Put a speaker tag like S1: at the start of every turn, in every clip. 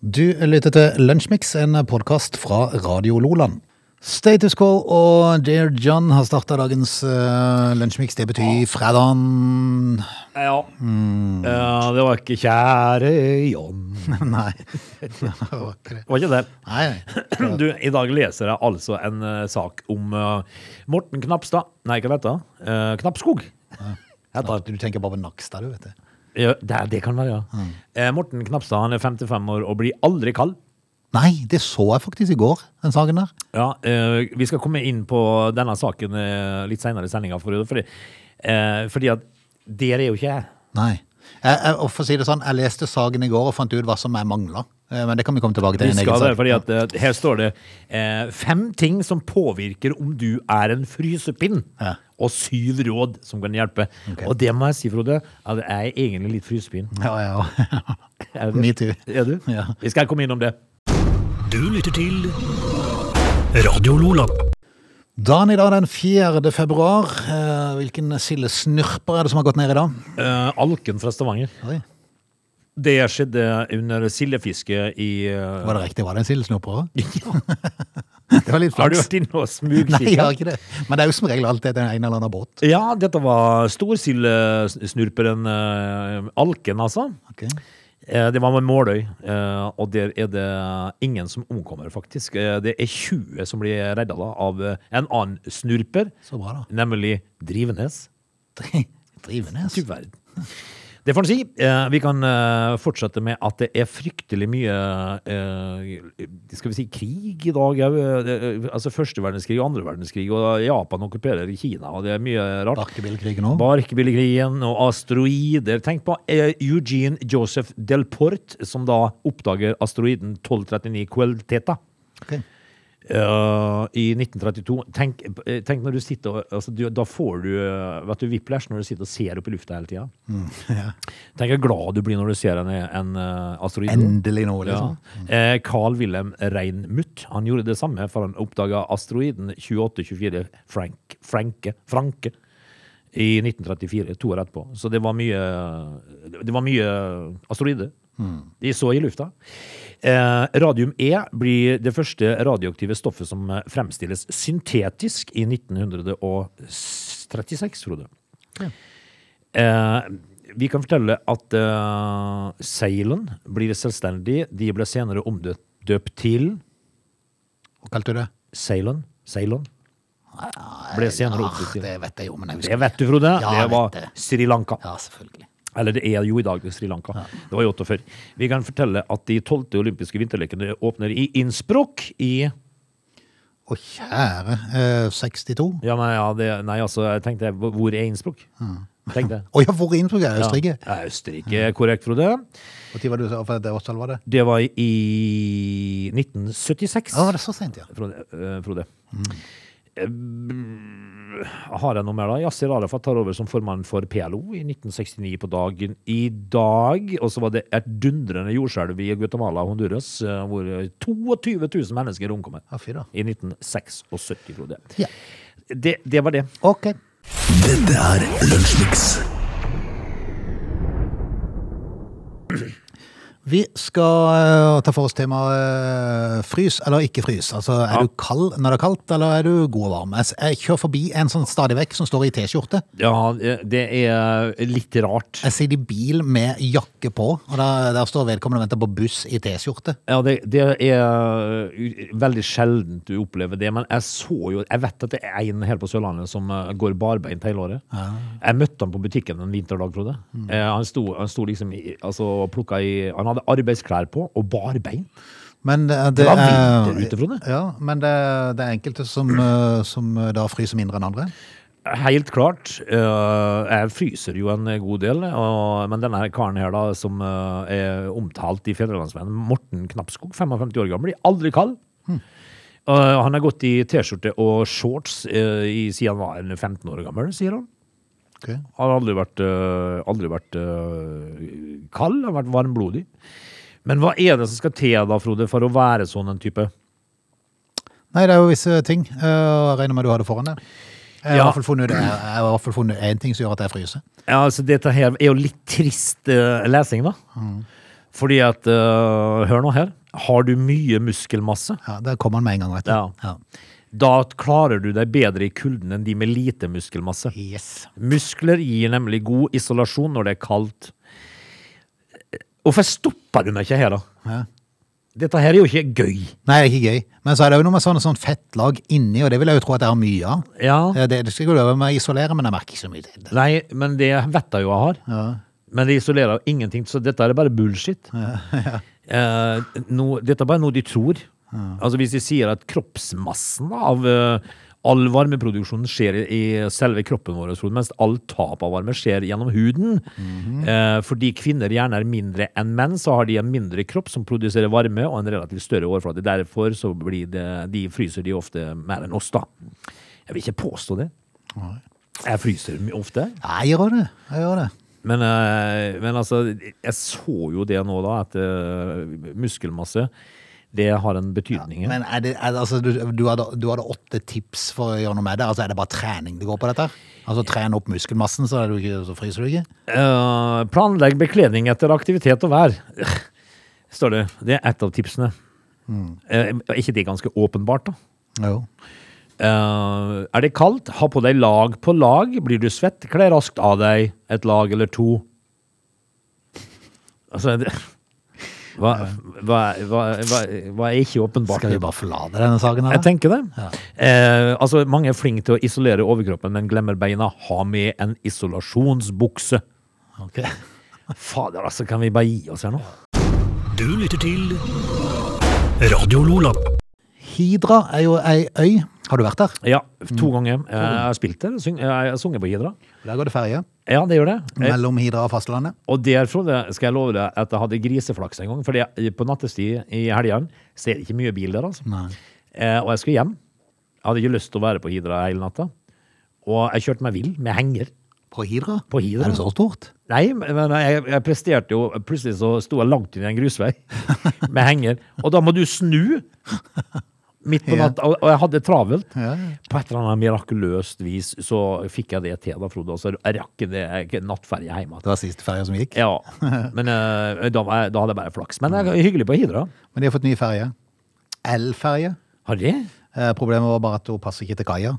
S1: Du lytter til Lunsjmix, en podkast fra Radio Loland. Status Quo og Dear John har starta dagens uh, Lunsjmix. Det betyr fredagen
S2: Ja. Eh, det var ikke 'Kjære John'.
S1: Nei. Det var ikke det.
S2: Det var ikke det.
S1: Nei, nei.
S2: Du, I dag leser jeg altså en eh, sak om eh, Morten Knapstad Nei, hva heter han? Eh, Knapskog. Heter han.
S1: Du tenker bare på Nakstad, du, vet du.
S2: Ja, det, det kan være, ja. Eh, Morten Knapstad han er 55 år og blir aldri kald.
S1: Nei, det så jeg faktisk i går, den saken der.
S2: Ja, eh, Vi skal komme inn på denne saken eh, litt senere i sendinga, fordi, eh, fordi at der er jo ikke jeg.
S1: Nei. Jeg, jeg, og for å si det sånn, jeg leste saken i går og fant ut hva som jeg mangla. Men det kan vi komme tilbake til. i
S2: Vi
S1: en egen
S2: skal det,
S1: sak.
S2: fordi at eh, Her står det eh, fem ting som påvirker om du er en frysepinn,
S1: Ja.
S2: og syv råd som kan hjelpe.
S1: Ok.
S2: Og det må jeg si, Frode, at jeg er egentlig litt frysepinn.
S1: Ja, ja.
S2: Er
S1: Me too.
S2: Er du?
S1: Ja.
S2: Vi skal komme innom det.
S3: Du lytter til Radio Lola.
S1: Dagen i dag, den 4. februar. eh, Hvilken sildesnurper er det som har gått ned i dag?
S2: Eh, alken fra Stavanger.
S1: Oi,
S2: Det skjedde under sildefisket i eh,
S1: Var det riktig? Var det en sildesnurper òg? Det var litt
S2: Har du
S1: flaks.
S2: vært inne og
S1: Nei, jeg har
S2: smugkikket?
S1: ikke det. Men det er jo som regel alltid en eller annen båt.
S2: Ja, dette var storsildesnurperen eh, alken, altså.
S1: Ok.
S2: Eh, Det var med Måløy, eh, og der er det ingen som omkommer, faktisk. Eh, Det er 20 som blir redda da, av eh, en annen snurper,
S1: Så bra, da.
S2: nemlig Drivenes.
S1: Dri- Drivenes.
S2: Du verden. Det får en si. Eh, Vi kan eh, fortsette med at det er fryktelig mye eh, Skal vi si krig i dag òg? Altså første verdenskrig og andre verdenskrig, og Japan okkuperer Kina, og det er mye rart.
S1: Barkebillkrigen òg.
S2: Barkebillekrigen og asteroider. Tenk på eh, Eugene Joseph Delport, som da oppdager asteroiden 1239 Quelteta
S1: Ok.
S2: eh, i 1932. Tenk, eh, tenk når du sitter og altså, du, Da får du eh, vet du, whiplash når du sitter og ser opp i lufta hele tida. Tenk hvor glad du blir når du ser en, en eh, asteroide.
S1: Endelig nå, liksom.
S2: Ja. Eh, Carl Wilhelm Reinmuth han gjorde det samme, for han oppdaga asteroiden 2824 Frank, Franke, Franke i 1934, to år etterpå. Så det var mye, det var mye asteroider. De så i lufta. Eh, radium E blir det første radioaktive stoffet som eh, fremstilles syntetisk i 1936, Frode. Eh, vi kan fortelle at eh, Seilen blir selvstendig. De ble senere omdøpt døpt til
S1: Hva kalte du det?
S2: Seilen. Seilen. Ble senere omdøpt
S1: Ah,
S2: til
S1: det vet jeg jo, men jeg
S2: Det
S1: husker
S2: vet du, Frode.
S1: Ja,
S2: det
S1: jeg
S2: var
S1: vet det.
S2: Sri Lanka.
S1: Ja, selvfølgelig.
S2: Eller det er jo i dag Sri Lanka. Det var i 48. Vi kan fortelle at de tolvte olympiske vinterlekene åpner i Innsbruck i
S1: Å, kjære eh, 62. Å
S2: Ja, nei, ja, det, nei altså, jeg tenkte hvor- Hvor er Innsbruck? Tenk det.
S1: ja, hvor inntok jeg? Østerrike?
S2: Ja. Østerrike, er korrekt, Frode.
S1: Når var det du sa for det årstallet var det?
S2: Det var i 1976.
S1: Ja, var det så sent, ja.
S2: Frode. eh, Frode. Eh, Har jeg noe mer da? Yasir Arafat tar over som formann for PLO i 1969 på dagen i dag. Og så var det et dundrende jordskjelv i Guatemala og Honduras, eh, hvor 22 000 mennesker omkommer.
S1: Ja, fy da.
S2: I 1976, Frode.
S1: Ja.
S2: Det, det var det.
S1: Ok.
S3: Dette er Lunsjmix.
S1: Vi skal eh, ta for oss temaet eh, frys eller ikke frys. Altså, er
S2: Ja.
S1: du kald når det er kaldt, eller er du god og varm? Jeg s- Jeg kjører forbi en sånn stadig vekk som står i T-skjorte.
S2: Ja, eh, det er litt rart.
S1: Jeg sitter i bil med jakke på, og der, der står vedkommende og venter på buss i T-skjorte.
S2: Ja, det, det er uh, u- veldig sjeldent du opplever det, men jeg så jo Jeg vet at det er en her på Sørlandet som eh, går barbeint hele året. Jeg møtte han på butikken en vinterdag, Frode.
S1: Mm.
S2: Eh, Han, sto, han sto liksom i, altså, og plukket i Han hadde arbeidsklær på og barbeint.
S1: Men det, det,
S2: var
S1: er-
S2: vinter ute, Frode.
S1: Ja, men det, det er enkelte som, eh, som da fryser mindre enn andre.
S2: Helt klart. eh, Jeg fryser jo en god del, og, men denne her karen her, da, som eh, er omtalt i Fedrelandsvennen, Morten Knapskog, 55 år gammel, blir aldri kald. Eh, Han har gått i T-skjorte og shorts eh, i, siden han var 15 år gammel, sier han.
S1: Ok.
S2: Han har aldri vært, øh, aldri vært øh, kald, han har vært varmblodig. Men hva er det som skal til da, Frode, for å være sånn en type?
S1: Nei, det er jo visse ting. eh, og Jeg regner med du har det foran deg. Jeg har i
S2: Ja.
S1: hvert fall funnet- jeg har i hvert fall funnet én ting som gjør at jeg fryser.
S2: Ja, altså Dette her er jo litt trist øh, lesing, eh, da. Fordi at eh, Hør nå her. Har du mye muskelmasse,
S1: Ja, Der kom han med en gang, vet du.
S2: Ja. da klarer du deg bedre i kulden enn de med lite muskelmasse.
S1: Yes.
S2: Muskler gir nemlig god isolasjon når det er kaldt. Hvorfor stopper du meg ikke her, da?
S1: Ja.
S2: Dette her er jo ikke gøy.
S1: Nei, det er ikke gøy. Men så er det jo noe med sånn, sånn fettlag inni, og det vil jeg jo tro at jeg har mye av.
S2: Ja.
S1: Eh, Det, det skal gå over med å isolere, men jeg merker ikke så mye til det.
S2: Nei, men det vet jeg jo jeg har. Men det isolerer jo ingenting, så dette er bare bullshit. Eh, no, dette er bare noe de tror. Altså Hvis de sier at kroppsmassen av eh, all varmeproduksjon skjer i, i selve kroppen vår, Frode, mens all tap av varme skjer gjennom huden eh, Fordi kvinner gjerne er mindre enn menn, så har de en mindre kropp som produserer varme og en relativt større overflate. Derfor så blir det, de fryser de ofte mer enn oss, da. Jeg vil ikke påstå det. Jeg fryser my- ofte.
S1: Nei, jeg gjør det. Jeg gjør det.
S2: Men, eh, men altså, jeg så jo det nå, da, at eh, muskelmasse det har en betydning.
S1: Men er det, er, det- altså, du, du, hadde, du hadde åtte tips for å gjøre noe med det. Altså, er det bare trening det går på dette? her? Altså, tren opp muskelmassen, så, er du ikke, så fryser du ikke?
S2: Eh, planlegg bekledning etter aktivitet og vær, står det. Det er ett av tipsene.
S1: Mm.
S2: Eh, er ikke det ganske åpenbart, da?
S1: Jo.
S2: Eh, er det kaldt, ha på deg lag på lag. Blir du svett, kle raskt av deg et lag eller to. Altså det, hva, hva, hva, hva, hva er ikke åpenbart?
S1: Skal vi bare forlate denne saken her?
S2: Jeg
S1: da?
S2: tenker det. Eh, altså, mange er flinke til å isolere overkroppen, men glemmer beina. Ha med en isolasjonsbukse.
S1: Ok.
S2: Fader, altså, kan vi bare gi oss her nå?
S3: Du lytter til Radio Lola.
S1: Hidra er jo ei øy. Har du vært der?
S2: Ja, to ganger. Eh, Jeg har spilt det. Syng, eh, jeg har sunget på Hidra.
S1: Der går det ferje
S2: Ja, det gjør det. Eh,
S1: mellom Hidra og fastlandet.
S2: og der, Frode, skal jeg love deg at jeg hadde griseflaks en gang. For på nattestid i helgene ser det ikke mye bil der, altså.
S1: Nei.
S2: Eh, og jeg skulle hjem. Jeg hadde ikke lyst til å være på Hidra hele natta. Og jeg kjørte meg vill med henger.
S1: På Hidra?
S2: På Hidra.
S1: Er det så stort?
S2: Nei, men jeg, jeg presterte jo Plutselig så sto jeg langt inn i en grusvei med henger. Og da må du snu midt på
S1: Ja.
S2: natta. Og, og jeg hadde travelt.
S1: Ja, ja.
S2: På et eller annet mirakuløst vis så fikk jeg det til, da, Frode. Og så jeg rakk det jeg- nattferje hjem igjen.
S1: Det var siste ferja som gikk.
S2: Ja, men eh, da, var jeg, da hadde jeg bare flaks. Men jeg, hyggelig på Hidra.
S1: Men de har fått ny ferje. Elferje.
S2: Har de?
S1: Eh, Problemet var bare at hun passer ikke til kaia.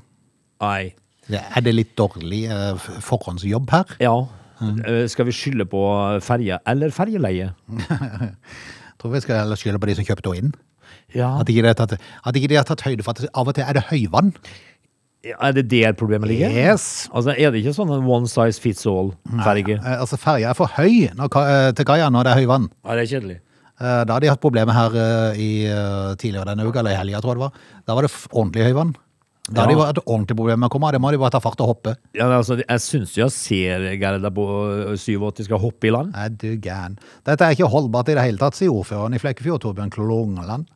S2: Nei.
S1: Det- Er det litt dårlig eh, f- forhåndsjobb her?
S2: Ja. Eh, Skal vi skylde på ferje eller ferjeleie?
S1: Tror vi skal heller skylde på de som kjøpte henne inn.
S2: Ja.
S1: At ikke de har tatt, at ikke de har tatt høyde for at av og til er det høyvann.
S2: Er det der problemet ligger?
S1: Yes.
S2: Altså, Er det ikke sånn en one size fits all-ferge?
S1: Eh, Altså Ferja er for høy når, ka- eh, til kaia når det er høyvann.
S2: Ja, det er kjedelig.
S1: Eh, Da hadde de hatt problemer her eh, i, eh, tidligere denne uka, eller i helga, tror jeg det var. Da var det f- ordentlig høyvann. Da hadde de
S2: Ja.
S1: hatt ordentlig problemer med å komme av. Det må de bare ta fart og hoppe.
S2: Ja, men altså, jeg syns jo jeg ser Gerda øh, på ø, 87 skal hoppe i land.
S1: Er du gæren. Dette er ikke holdbart i det hele tatt, sier ordføreren i Flekkefjord, Torbjørn Klongeland.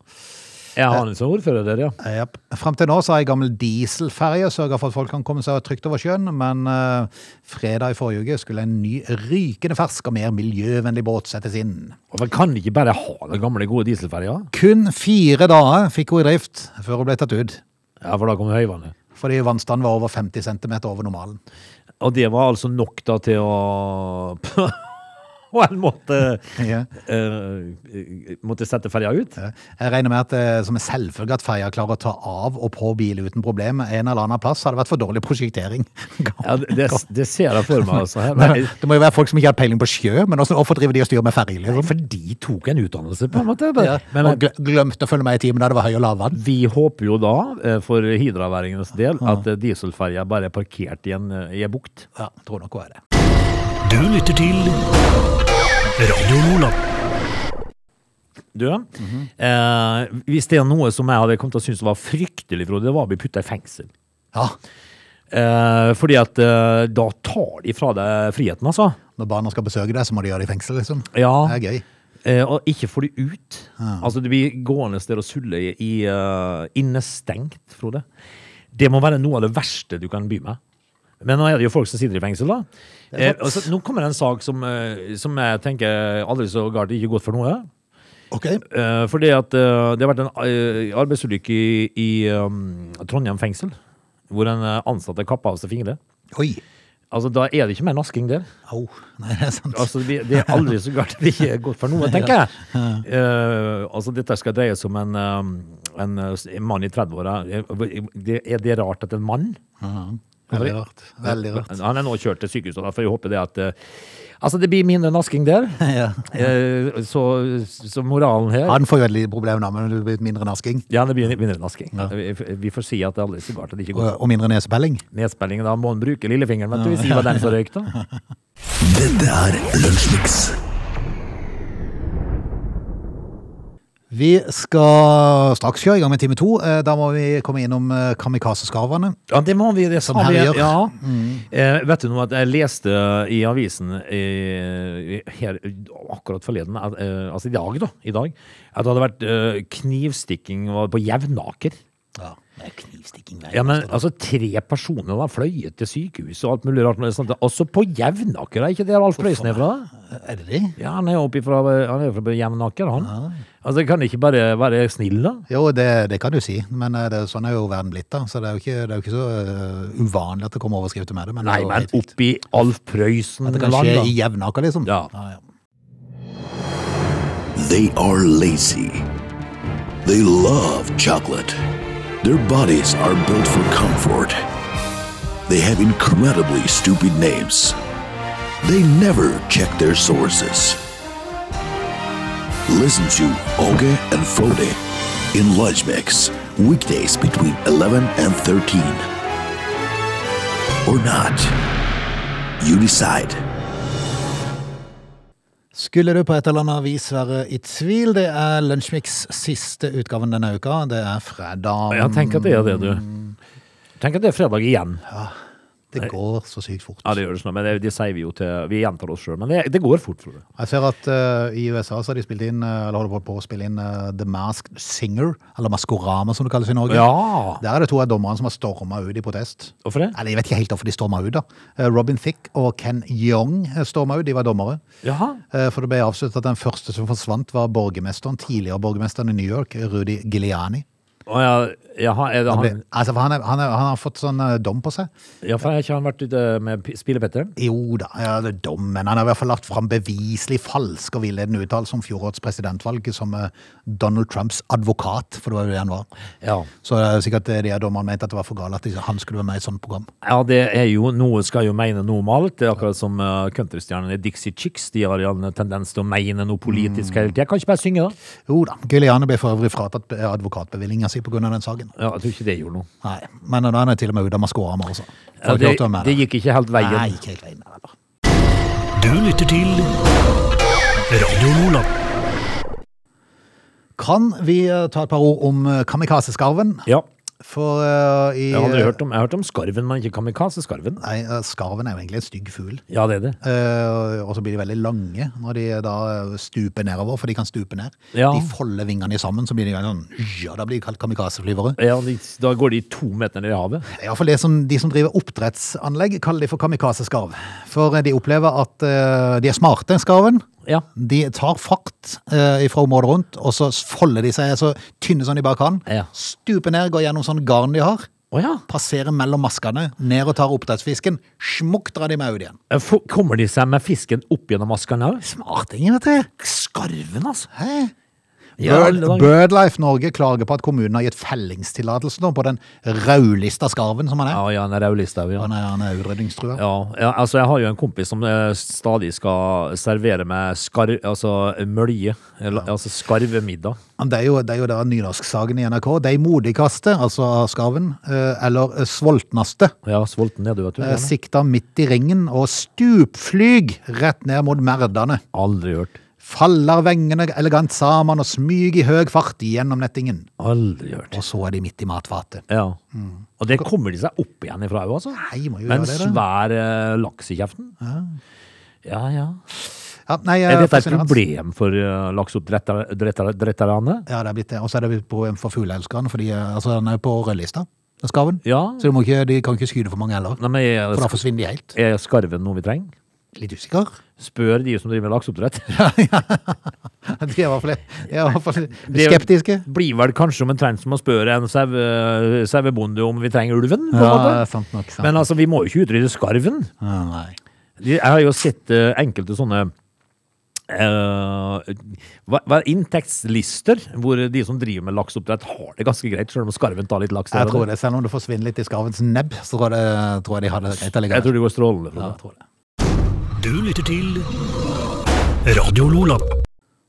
S2: Jeg har en som ordfører der, ja.
S1: Eh, Japp. Frem til nå så har ei gammel dieselferje sørga for at folk kan komme seg trygt over sjøen, men eh, fredag i forrige uke skulle en ny rykende fersk og mer miljøvennlig båt settes inn.
S2: Hvorfor kan de ikke bare ha den gamle, gode dieselferja?
S1: Kun fire dager fikk hun i drift før hun ble tatt ut,
S2: Ja, for da kom høyvannet.
S1: fordi vannstanden var over 50 cm over normalen.
S2: Og det var altså nok da til å På en måte
S1: Ja.
S2: ø, måtte sette ferja ut?
S1: Eh, Jeg regner med at eh, som en selvfølge at ferja klarer å ta av og på bil uten problem. En eller annen plass hadde vært for dårlig prosjektering.
S2: Ja, det, det ser jeg for meg, altså. Her.
S1: Det må jo være folk som ikke har peiling på sjø, men også, hvorfor driver de og styrer med ferje?
S2: Nei,
S1: Liksom?
S2: For de tok en utdannelse, på en måte.
S1: Ja,
S2: Men
S1: og gle- glemte å følge med i timen da det var høy og lavvann.
S2: vi håper jo da, ø, for hidraværingenes del, at ø, dieselferja bare er parkert i en, ø, i en bukt.
S1: Ja, jeg tror nok hun er det.
S3: Du lytter til Radio Lola.
S2: Du, eh, hvis det er noe som jeg hadde kommet til å synes var fryktelig, Frode, det var å bli putta i fengsel.
S1: Ja,
S2: Eh, fordi at eh, da tar de fra deg friheten, altså.
S1: Når barna skal besøke deg, så må de gjøre det i fengsel, liksom.
S2: Ja.
S1: Det er gøy.
S2: Eh, og ikke får de ut. Altså, du blir gående der og sulle i, i eh, innestengt, Frode. Det må være noe av det verste du kan by med. Men nå er det jo folk som sitter i fengsel, da. Eh, og så, nå kommer det en sak som, eh, som jeg tenker aldri så galt ikke godt for noe.
S1: Ok.
S2: Eh, fordi at eh, det har vært en eh, arbeidsulykke i, i um, Trondheim fengsel, hvor en eh, ansatt har kappa av seg fingre.
S1: Oi.
S2: Altså, Da er det ikke mer nasking der.
S1: Au. Nei, det er sant.
S2: Altså, Det det er aldri så galt det ikke er godt for noen, tenker jeg. Eh, altså, Dette skal dreie seg om en, eh, en, eh, en mann i 30-åra. Det- Er det rart at en mann
S1: Mhm. Veldig rart. Veldig rart.
S2: Han er nå kjørt til sykehuset, da, for jeg håper det at eh, Altså, det blir mindre nasking der.
S1: Ja.
S2: Eh, så, så moralen her
S1: Han får jo et lite problem da, men det blir litt mindre nasking.
S2: Ja, det blir mindre nasking.
S1: Ja.
S2: Vi, vi får si at det er aldri så galt at det ikke går.
S1: Og og mindre nesepelling.
S2: Nedspillingen, da må han bruke lillefingeren, vet du, hvis det var den som røyk, da.
S3: Dette er Lunsjmix.
S1: Vi skal straks kjøre i gang med time to. Eh, Da må vi komme innom eh, kamikazeskarvene.
S2: Ja, det må vi det
S1: Som
S2: sa vi-
S1: herjer.
S2: Ja. Eh, vet du noe at jeg leste i avisen eh, her akkurat forleden, at, eh, altså i dag, da, i dag, at det hadde vært eh, knivstikking var på Jevnaker.
S1: Ja, det er knivstikking
S2: Ja, men altså tre personer da fløyet til sykehuset og alt mulig rart. Men det er sånn, at- også på Jevnaker, er ikke det Alf Prøysen er fra? da?
S1: Er det de?
S2: Ja, han er jo oppe fra, han er jo fra Jevnaker, han. Altså, kan det ikke bare være snill, da?
S1: Jo, det, det kan du si, men eh, det, sånn er jo verden blitt da, så det er jo ikke, det er jo ikke så eh, uvanlig at det kommer overskrifter med det. Men
S2: Nei,
S1: det er jo
S2: men
S1: helt vilt.
S2: oppi Alf Prøysen
S1: At det kan
S2: land,
S1: skje
S2: da.
S1: i jevnaker, liksom.
S2: Ja.
S1: ja.
S4: They are lazy. They love chocolate. Their bodies are built for comfort. They have incredibly stupid names. They never check their sources. Listen to Oge and Frode in Lunch Mix, weekdays between 11 and 13. Or not. You decide.
S1: Skulle du på et eller annet vis være i tvil, det er Lunsjmix siste utgaven denne uka. Det er fredag.
S2: Ja, tenk at det er det, du. Mm. Tenk at det er fredag igjen.
S1: Det går så sykt fort.
S2: Ja, det gjør det sånn, men det, det sier vi jo til Vi gjentar oss sjøl, men det, det går fort. For det.
S1: Jeg ser at eh, i USA så har de spilt inn, eh, eller holder på å spille inn eh, The Masked Singer, eller Maskorama som det kalles i Norge.
S2: Ja!
S1: Der er det to av dommerne som har storma ut i protest.
S2: Hvorfor det?
S1: Eller jeg vet ikke helt hvorfor de storma ut, da. Eh, Robin Thicke og Ken Young eh, storma ut, de var dommere.
S2: Jaha.
S1: Eh, For det ble avsluttet at den første som forsvant, var borgermesteren, tidligere borgermesteren i New York, Rudy Giuliani.
S2: Å, ja, jaha er det
S1: Han, ble,
S2: han?
S1: altså, for han, er, han, er, han har fått sånn eh, dom på seg.
S2: Ja, for har ikke han vært ute med P- Spille-Petter?
S1: Jo da, ja, det er dom, men han har i hvert fall lagt fram beviselig falsk og villedende uttalelse om fjorårets presidentvalg som eh, Donald Trumps advokat, for det var jo det han var.
S2: Ja.
S1: Så det er sikkert det de av dommerne mente at det var for galt at de- han skulle være med i et sånt program.
S2: ja, det er jo Noe skal jo mene noe om alt. Det er akkurat som eh, countrystjernene Dixie Chicks. De har jo en tendens til å mene noe politisk hele tida. Kan ikke bare synge, da?
S1: Jo da, Giuliani ble for øvrig fratatt eh, advokatbevillinga si pga. den saken.
S2: Ja, jeg tror ikke det gjorde noe.
S1: Nei, men da er han til og altså. med ute av Maskorama også.
S2: Ja,
S1: Folk
S2: det,
S1: hørte om det.
S2: det gikk ikke helt veien.
S1: Nei, ikke helt veien. nei, nei.
S3: Du lytter til Radio Lola.
S1: Kan vi eh, ta et par ord om eh, kamikazeskarven?
S2: Ja,
S1: For eh, i
S2: jeg hadde hørt om, jeg har hørt om skarven, men ikke kamikaze-skarven.
S1: Nei, eh, skarven er jo egentlig en stygg fugl.
S2: Ja, det er det.
S1: Eh, og så blir de veldig lange når de da stuper nedover, for de kan stupe ned.
S2: Ja.
S1: De folder vingene sammen, så blir de sånn Ja, da blir de kalt kamikazeflyvere.
S2: Ja, de, da går de to meter ned i havet.
S1: Det er Iallfall det som de som driver oppdrettsanlegg, kaller de for kamikazeskarv. For eh, de opplever at eh, de er smarte, skarven.
S2: Ja.
S1: De tar fart eh, fra området rundt, og så folder de seg så tynne som de bare kan.
S2: Ja.
S1: Stuper ned, går gjennom sånn garn de har.
S2: Å ja.
S1: Passerer mellom maskene, ned og tar oppdrettsfisken. Smukk drar de meg ut igjen.
S2: F- Eh, Kommer de seg med fisken opp gjennom maskene òg?
S1: Smartinger, vet du.
S2: Skarven, altså!
S1: Hæ?
S2: Ja,
S1: Bird,
S2: alle dager.
S1: Birdlife Norge klager på at kommunen har gitt fellingstillatelse nå på den rødlista skarven som han er.
S2: Ja, ja, han er rødlista, ja.
S1: Han er, han er utrydningstrua.
S2: Ja, ja, altså jeg har jo en kompis som eh, stadig skal servere meg skar, altså mølje, eller, altså skarvemiddag.
S1: Men Det er jo, det er jo da nynorsksaken i NRK. De modigste, altså skarven, eh, eller svoltneste,
S2: Ja, sulten er du, vet du.
S1: eh, sikta midt i ringen og stupflyg rett ned mot merdene.
S2: Aldri hørt.
S1: Faller vengene elegant sammen og smyg i høy fart gjennom nettingen.
S2: Aldri hørt.
S1: Og så er de midt i matfatet.
S2: Ja. Og det kommer de seg opp igjen ifra òg, altså.
S1: Nei, må jo
S2: Med en
S1: gjøre det, da.
S2: svær eh, laks i kjeften. Ja, ja.
S1: Ja, nei,
S2: Er
S1: eh,
S2: dette et
S1: fascinerende.
S2: problem for eh, lakseoppdretterne?
S1: Ja, det er blitt det. Og så er det blitt problem for fugleelskerne, fordi eh, altså, den er jo på rødlista, den skarven.
S2: Ja.
S1: Så de, må ikke, de kan ikke skyte for mange heller,
S2: Nei, men
S1: for da
S2: er,
S1: forsvinner de helt.
S2: er skarven noe vi trenger?
S1: Litt usikker.
S2: Spør de som driver med lakseoppdrett.
S1: De er i hvert fall, de er i hvert fall
S2: Det-
S1: skeptiske.
S2: Blir vel kanskje omtrent som å spørre en sau- eh, sauebonde om vi trenger ulven. på en måte.
S1: sant nok. Sant.
S2: Men altså, vi må jo ikke utrydde skarven.
S1: ja, nei.
S2: Jeg har jo sett eh, enkelte sånne eh, hva, hva er inntektslister hvor de som driver med lakseoppdrett, har det ganske greit, selv om skarven tar litt laks.
S1: Jeg tror det, Selv om det forsvinner litt i skarvens nebb, så tror jeg, tror jeg de har det greit
S2: Jeg
S1: allikevel.
S2: tror det går strålende. for
S1: Ja, jeg
S2: det.
S1: tror det.
S3: Du lytter til Radio Lola.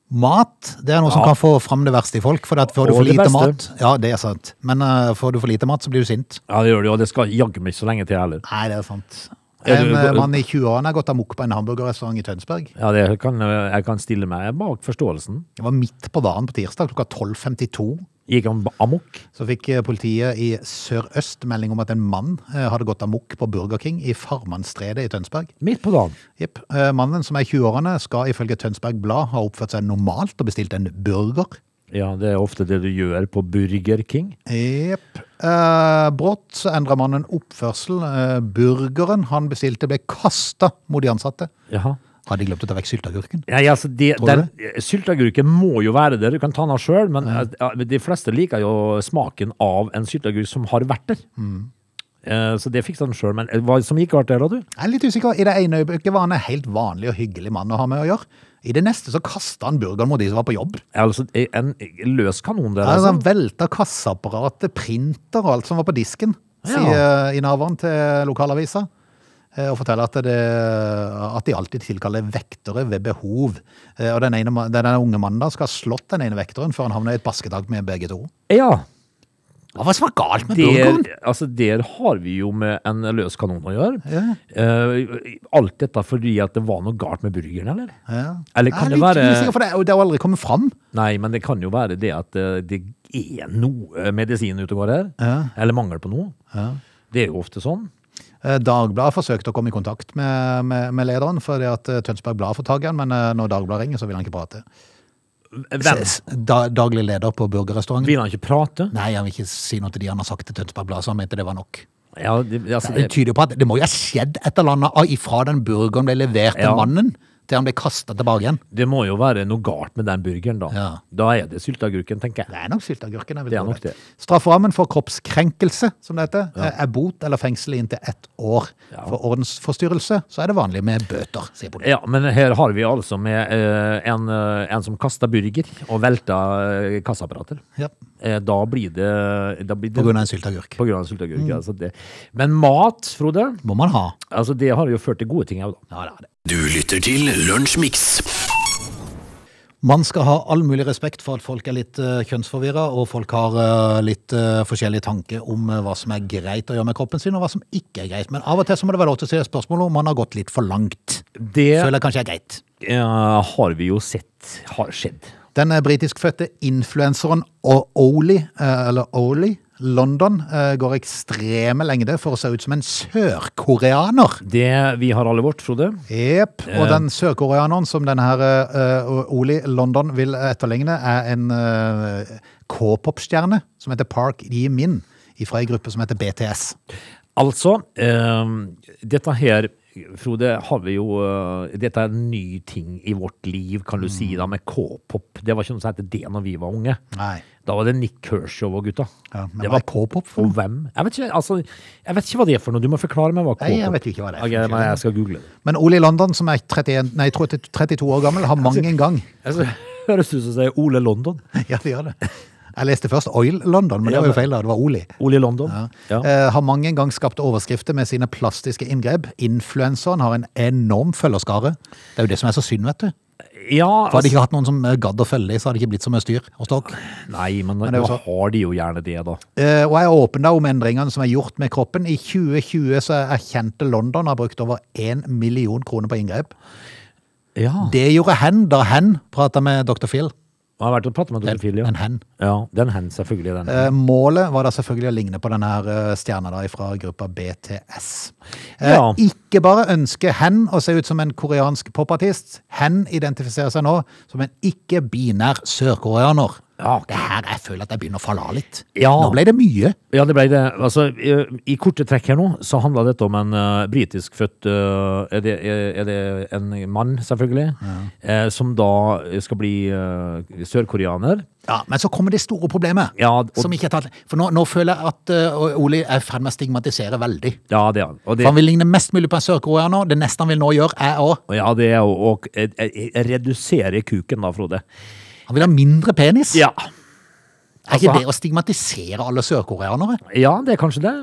S1: Mat det er noe som
S2: Ja.
S1: kan få fram det verste i folk. For at får du
S2: Og
S1: for
S2: det
S1: lite mat
S2: beste.
S1: Ja, det er sant. Men eh, får du for lite mat, så blir du sint.
S2: Ja, det gjør det jo, og det skal jaggu meg ikke så lenge til heller.
S1: Nei, det er sant.
S2: Er
S1: En
S2: du-
S1: eh, mann i 20-årene har gått amok på en hamburgerrestaurant i Tønsberg.
S2: Ja, det kan, eh, jeg kan stille meg bak forståelsen.
S1: Det var midt på dagen på tirsdag klokka 12.52.
S2: Gikk han ba- amok?
S1: Så fikk eh, politiet i Sør-Øst melding om at en mann eh, hadde gått amok på Burger King i Farmannstredet i Tønsberg.
S2: Midt på dagen.
S1: Jepp. Eh, Mannen som er i 20-årene skal ifølge Tønsberg Blad ha oppført seg normalt og bestilt en burger.
S2: Ja, det er ofte det du gjør på Burger King.
S1: Jepp. Eh, brått så endra mannen oppførsel. Eh, burgeren han bestilte, ble kasta mot de ansatte.
S2: Jaha.
S1: Hadde de glemt å ta vekk sylteagurken?
S2: Ja, ja, altså de,
S1: Tror du
S2: den, sylteagurken må jo være der, du kan ta den av sjøl, men eh, ja. de fleste liker jo smaken av en sylteagurk som har vært der. Eh, Så det fiksa han sjøl, men eh, hva som ikke har vært der, da, du?
S1: Jeg er litt usikker. I det ene øyeblikket var han en helt vanlig og hyggelig mann å ha med å gjøre. I det neste så kasta han burgeren mot de som var på jobb.
S2: Altså, eh, en løs kanon der,
S1: Altså, han
S2: altså.
S1: velta kassaapparatet, printer og alt som var på disken,
S2: Ja.
S1: sier innehaveren til lokalavisa. eh, Og forteller at, det, at de alltid tilkaller vektere ved behov. Eh, Og den, ene, ma- den ene unge mannen da skal ha slått den ene vekteren før han havner i et basketak med begge to.
S2: Ja.
S1: Hva var det som var galt med burgeren?
S2: Der, altså, der har vi jo med en løs kanon å gjøre.
S1: Ja.
S2: Eh, alt dette fordi at det var noe galt med burgeren, eller?
S1: Ja.
S2: Eller kan
S1: Jeg er
S2: det
S1: litt
S2: være
S1: usikker, for det, er jo- det har jo aldri kommet fram.
S2: Nei, men det kan jo være det at eh, det er noe eh, medisin ute og går her. Eller mangel på noe. Det er jo ofte sånn.
S1: Eh, Dagbladet forsøkte å komme i kontakt med, med, med lederen, fordi at eh, Tønsberg Blad får tak i han, men eh, når Dagbladet ringer, så vil han ikke prate.
S2: Hvem
S1: S- Da, daglig leder på burgerrestauranten.
S2: vil han ikke prate?
S1: Nei, han vil ikke si noe til de han har sagt til Tønsberg Blad, så han mente det var nok.
S2: Ja, det, altså,
S1: Det
S2: det,
S1: tyder jo på at det må jo ha skjedd et eller annet av- ifra den burgeren ble levert til
S2: Ja.
S1: mannen, til han ble kasta tilbake igjen.
S2: det må jo være noe galt med den burgeren, da.
S1: Ja.
S2: Da er det sylteagurken, tenker jeg.
S1: Det er nok sylteagurken. jeg vil
S2: Det er
S1: tro
S2: nok det.
S1: Strafferammen for kroppskrenkelse, som det heter, eh, er bot eller fengsel i inntil ett år.
S2: Ja.
S1: For ordensforstyrrelse så er det vanlig med bøter, sier politiet.
S2: Ja, men her har vi altså med eh, en, eh, en som kasta burger og velta eh, kassaapparater.
S1: Ja.
S2: Eh, da blir det, da blir det
S1: På grunn av en sylteagurk. Mm.
S2: på grunn av sylteagurk. Altså det. Men mat, Frode,
S1: Må man ha.
S2: altså det har jo ført til gode ting òg, da.
S1: Ja, det er det.
S3: Du lytter til Lunsjmix.
S1: Man skal ha all mulig respekt for at folk er litt uh, kjønnsforvirra, og folk har eh, litt eh, forskjellige tanker om eh, hva som er greit å gjøre med kroppen sin, og hva som ikke er greit. Men av og til så må det være lov til å stille spørsmål om man har gått litt for langt.
S2: Det
S1: Føler jeg kanskje er greit.
S2: eh, har vi jo sett har skjedd.
S1: Den eh, britiskfødte influenseren O- Oli, eh, eller Oli London, eh, går ekstreme lengder for å se ut som en sørkoreaner.
S2: Det vi har alle vårt, Frode.
S1: Jep, og den sørkoreaneren som denne her eh, Oli London vil etterligne, er en eh, K-pop-stjerne som heter Park Ji-min fra en gruppe som heter BTS.
S2: Altså, eh, dette her, Frode, har vi jo eh, Dette er en ny ting i vårt liv, kan du si,
S1: Mm.
S2: da, med k-pop. Det var ikke noe som het det når vi var unge.
S1: Nei.
S2: Da var det Nick Kershaw og gutta.
S1: Ja, men
S2: det
S1: hva
S2: var
S1: er K-pop for
S2: Og hvem? Jeg vet, ikke, altså, jeg vet ikke hva det er for noe. Du må forklare meg hva k-pop
S1: Nei, jeg vet jo ikke hva det er for
S2: Ok,
S1: noe.
S2: men jeg skal google det.
S1: Men Oli London, som er 31, nei, 30 32 år gammel, har mang en gang
S2: Altså, høres ut som det er Ole London.
S1: Ja, det gjør det. Jeg leste først Oil London, men det var jo feil. da, Det var Oli.
S2: Ole London. Ja.
S1: Eh, har mange en gang skapt overskrifter med sine plastiske inngrep. Influenseren har en enorm følgerskare. Det er jo det som er så synd, vet du.
S2: Ja,
S1: For hadde de
S2: altså,
S1: ikke hatt noen som eh, gadd å følge i, så hadde det ikke blitt så mye styr og ståk.
S2: nei, men,
S1: det er jo
S2: nå har de jo gjerne det, da.
S1: Eh, Og jeg er åpen da om endringene som er gjort med kroppen. I 2020 så erkjente London har brukt over 1 million kroner på inngrep.
S2: Ja.
S1: Det gjorde hen da hen prata med dr. Phil.
S2: Jeg har vært og pratet med Dr. Phil, ja.
S1: En hen.
S2: ja. Den hen, selvfølgelig. Den.
S1: Eh, Målet var da selvfølgelig å ligne på denne her eh, stjerna da fra gruppa BTS. Eh,
S2: Ja.
S1: Ikke bare ønsker hen å se ut som en koreansk popartist. Hen identifiserer seg nå som en ikke-binær sørkoreaner.
S2: Ja, ok.
S1: Det her, Jeg føler at jeg begynner å falle av litt.
S2: Ja.
S1: Nå ble det mye.
S2: Ja, det ble det. Altså, i, I korte trekk her nå, så handla dette om en uh, britisk født eh, er, det, er, er det en mann, selvfølgelig, eh, som da skal bli eh, sørkoreaner.
S1: Ja, Men så kommer det store problemet.
S2: Ja, og-
S1: som ikke er tatt. For nå, nå føler jeg at uh, Oli er i ferd med å stigmatisere veldig.
S2: Ja, det er han. Og
S1: For
S2: det,
S1: Han vil ligne mest mulig på en sørkoreaner. Det neste han vil nå gjøre, er å
S2: og ja, det er å å- eh, eh, redusere kuken, da, Frode.
S1: Han vil ha mindre penis.
S2: Ja.
S1: er ikke
S2: altså,
S1: det å stigmatisere alle sørkoreanere?
S2: ja, det er kanskje det.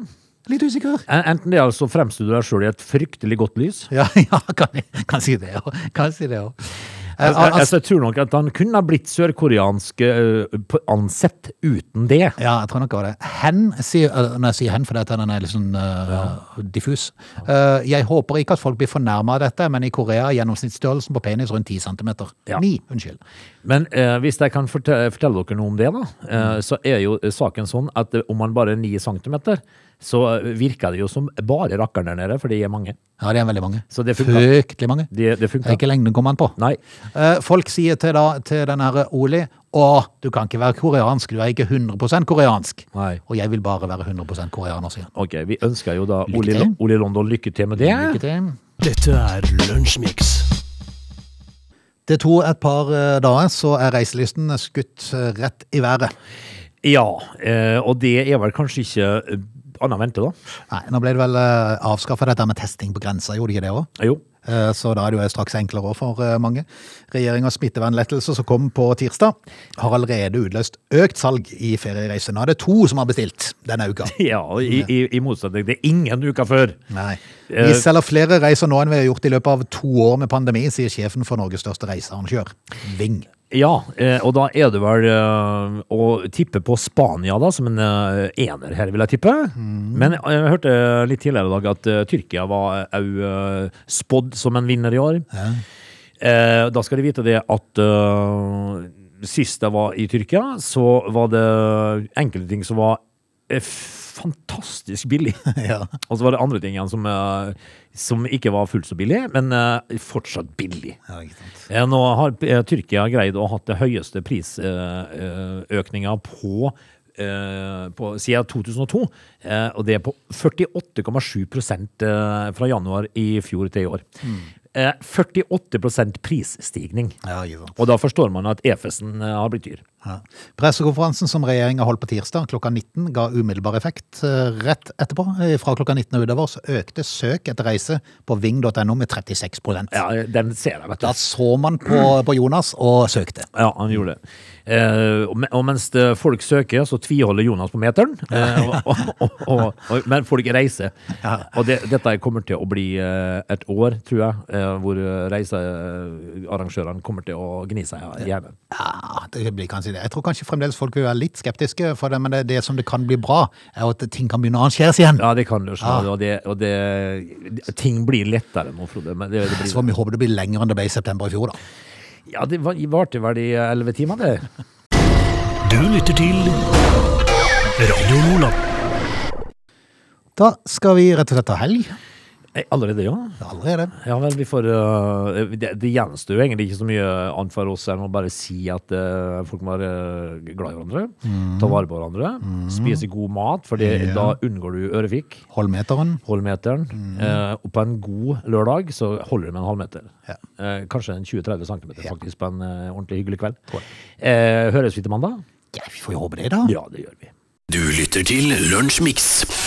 S1: Litt usikker.
S2: En- Enten det er altså fremstår du deg sjøl i et fryktelig godt lys.
S1: Ja, ja kan, kan si det òg. Kan si det òg. Eh,
S2: Jeg, jeg,
S1: altså,
S2: jeg tror nok at han kunne ha blitt sørkoreansk eh, på- ansett uten det.
S1: ja, jeg tror nok det var det. Hen sier eh, Når jeg sier hen, fordi at den er litt sånn eh, diffus. Eh, jeg håper ikke at folk blir fornærma av dette, men i Korea er gjennomsnittsstørrelsen på penis rundt 10 cm.
S2: Ja.
S1: 9, unnskyld.
S2: Men eh, hvis jeg kan fortelle, fortelle dere noe om det, da,
S1: Mm.
S2: eh, så er jo saken sånn at eh, om man bare er 9 cm, så eh, virker det jo som bare rakkeren der nede, for de er mange.
S1: Ja, det er veldig mange.
S2: Så det funker.
S1: Fryktelig mange. Det
S2: Det, det
S1: er
S2: funker.
S1: ikke lengden kommer an på.
S2: Nei.
S1: Eh, Folk sier til, da, til den her Oli Å, du kan ikke være koreansk, du er ikke 100 koreansk.
S2: Nei.
S1: Og jeg vil bare være 100 koreaner, sier han.
S2: Ok, vi ønsker jo da Oli,
S1: til.
S2: Oli London lykke til med det.
S1: Lykke til.
S3: Dette er Lunsjmix.
S1: Det tok et par eh, dager, så er reiselysten skutt eh, rett i været.
S2: Ja, eh, og det er vel kanskje ikke eh, annet å vente, da.
S1: Nei, nå ble det vel avskaffa dette med testing på grensa, gjorde de ikke det òg?
S2: Jo.
S1: Så da er det jo straks enklere også for eh, mange. Regjeringas smittevernlettelse som kom på tirsdag, har allerede utløst økt salg i feriereiser. Nå er det to som har bestilt denne uka.
S2: Ja, og i, i, i motsetning til ingen uker før.
S1: Nei.
S2: Eh,
S1: Vi selger flere reiser nå enn vi har gjort i løpet av to år med pandemi, sier sjefen for Norges største reisearrangør, Ving.
S2: Ja, eh, og da er det vel eh, å tippe på Spania da, som en eh, ener her, vil jeg tippe. Men eh, jeg hørte litt tidligere i dag at eh, Tyrkia var òg spådd som en vinner i år. Eh, Da skal de vite det at eh, sist jeg var i Tyrkia, så var det enkelte ting som var eh, fantastisk billig.
S1: Ja.
S2: Og så var det andre ting igjen som, eh, som ikke var fullt så billig, men eh, fortsatt billig. Eh, Nå har eh, Tyrkia greid å ha hatt det høyeste prisøkninga på eh, på, siden 2002, eh, og det er på 48,7 prosent, eh, fra januar i fjor til i år. Eh, 48 prisstigning.
S1: Ja, ikke sant.
S2: Og da forstår man at EFS-en eh, har blitt dyr.
S1: Ja. Pressekonferansen som regjeringa holdt på tirsdag klokka 19 ga umiddelbar effekt. Eh, Rett etterpå, eh, fra klokka 19 og utover, så økte søk etter reise på ving.no med 36
S2: Ja, eh, den ser jeg, vet du.
S1: Da så man på, på Jonas og søkte.
S2: Ja, han gjorde det. Eh, og me- og mens det folk søker, så tviholder Jonas på meteren. Eh, og, og, og, og, men folk reiser. Og det, dette kommer til å bli eh, et år, tror jeg, eh, hvor eh, reisearrangørene kommer til å gni seg i hjernen.
S1: Ja, det blir kanskje det. Jeg tror kanskje fremdeles folk vil være litt skeptiske, for det, men det, det som det kan bli bra, er jo at ting kan begynne å arrangeres igjen.
S2: Ja, det kan du skjønne. Og, det, og det, det- ting blir lettere nå, Frode. Men det, det
S1: Så får
S2: blir,
S1: vi håpe det blir lenger enn det ble i september i fjor, da.
S2: ja, det var- varte vel i elleve timer, det.
S3: Du lytter til Radio Lola.
S1: Da skal vi rett og slett ta helg.
S2: Eh, Allerede, ja.
S1: Det er Allerede.
S2: Ja vel, vi får øh, det, det gjenstår jo egentlig ikke så mye annet for oss enn å bare si at øh, folk må være øh, glad i hverandre, ta vare på hverandre, spise god mat, for det- da unngår du ørefik.
S1: Holmeteren.
S2: Hold meteren. Eh, og på en god lørdag så holder det med en halvmeter.
S1: Ja.
S2: Eh, kanskje en 20-30 cm faktisk på en eh, ordentlig hyggelig kveld. Eh, høres vi til mandag?
S1: Ja, vi får jo håpe det, da.
S2: Ja, det gjør vi.
S3: Du lytter til Lunsjmix.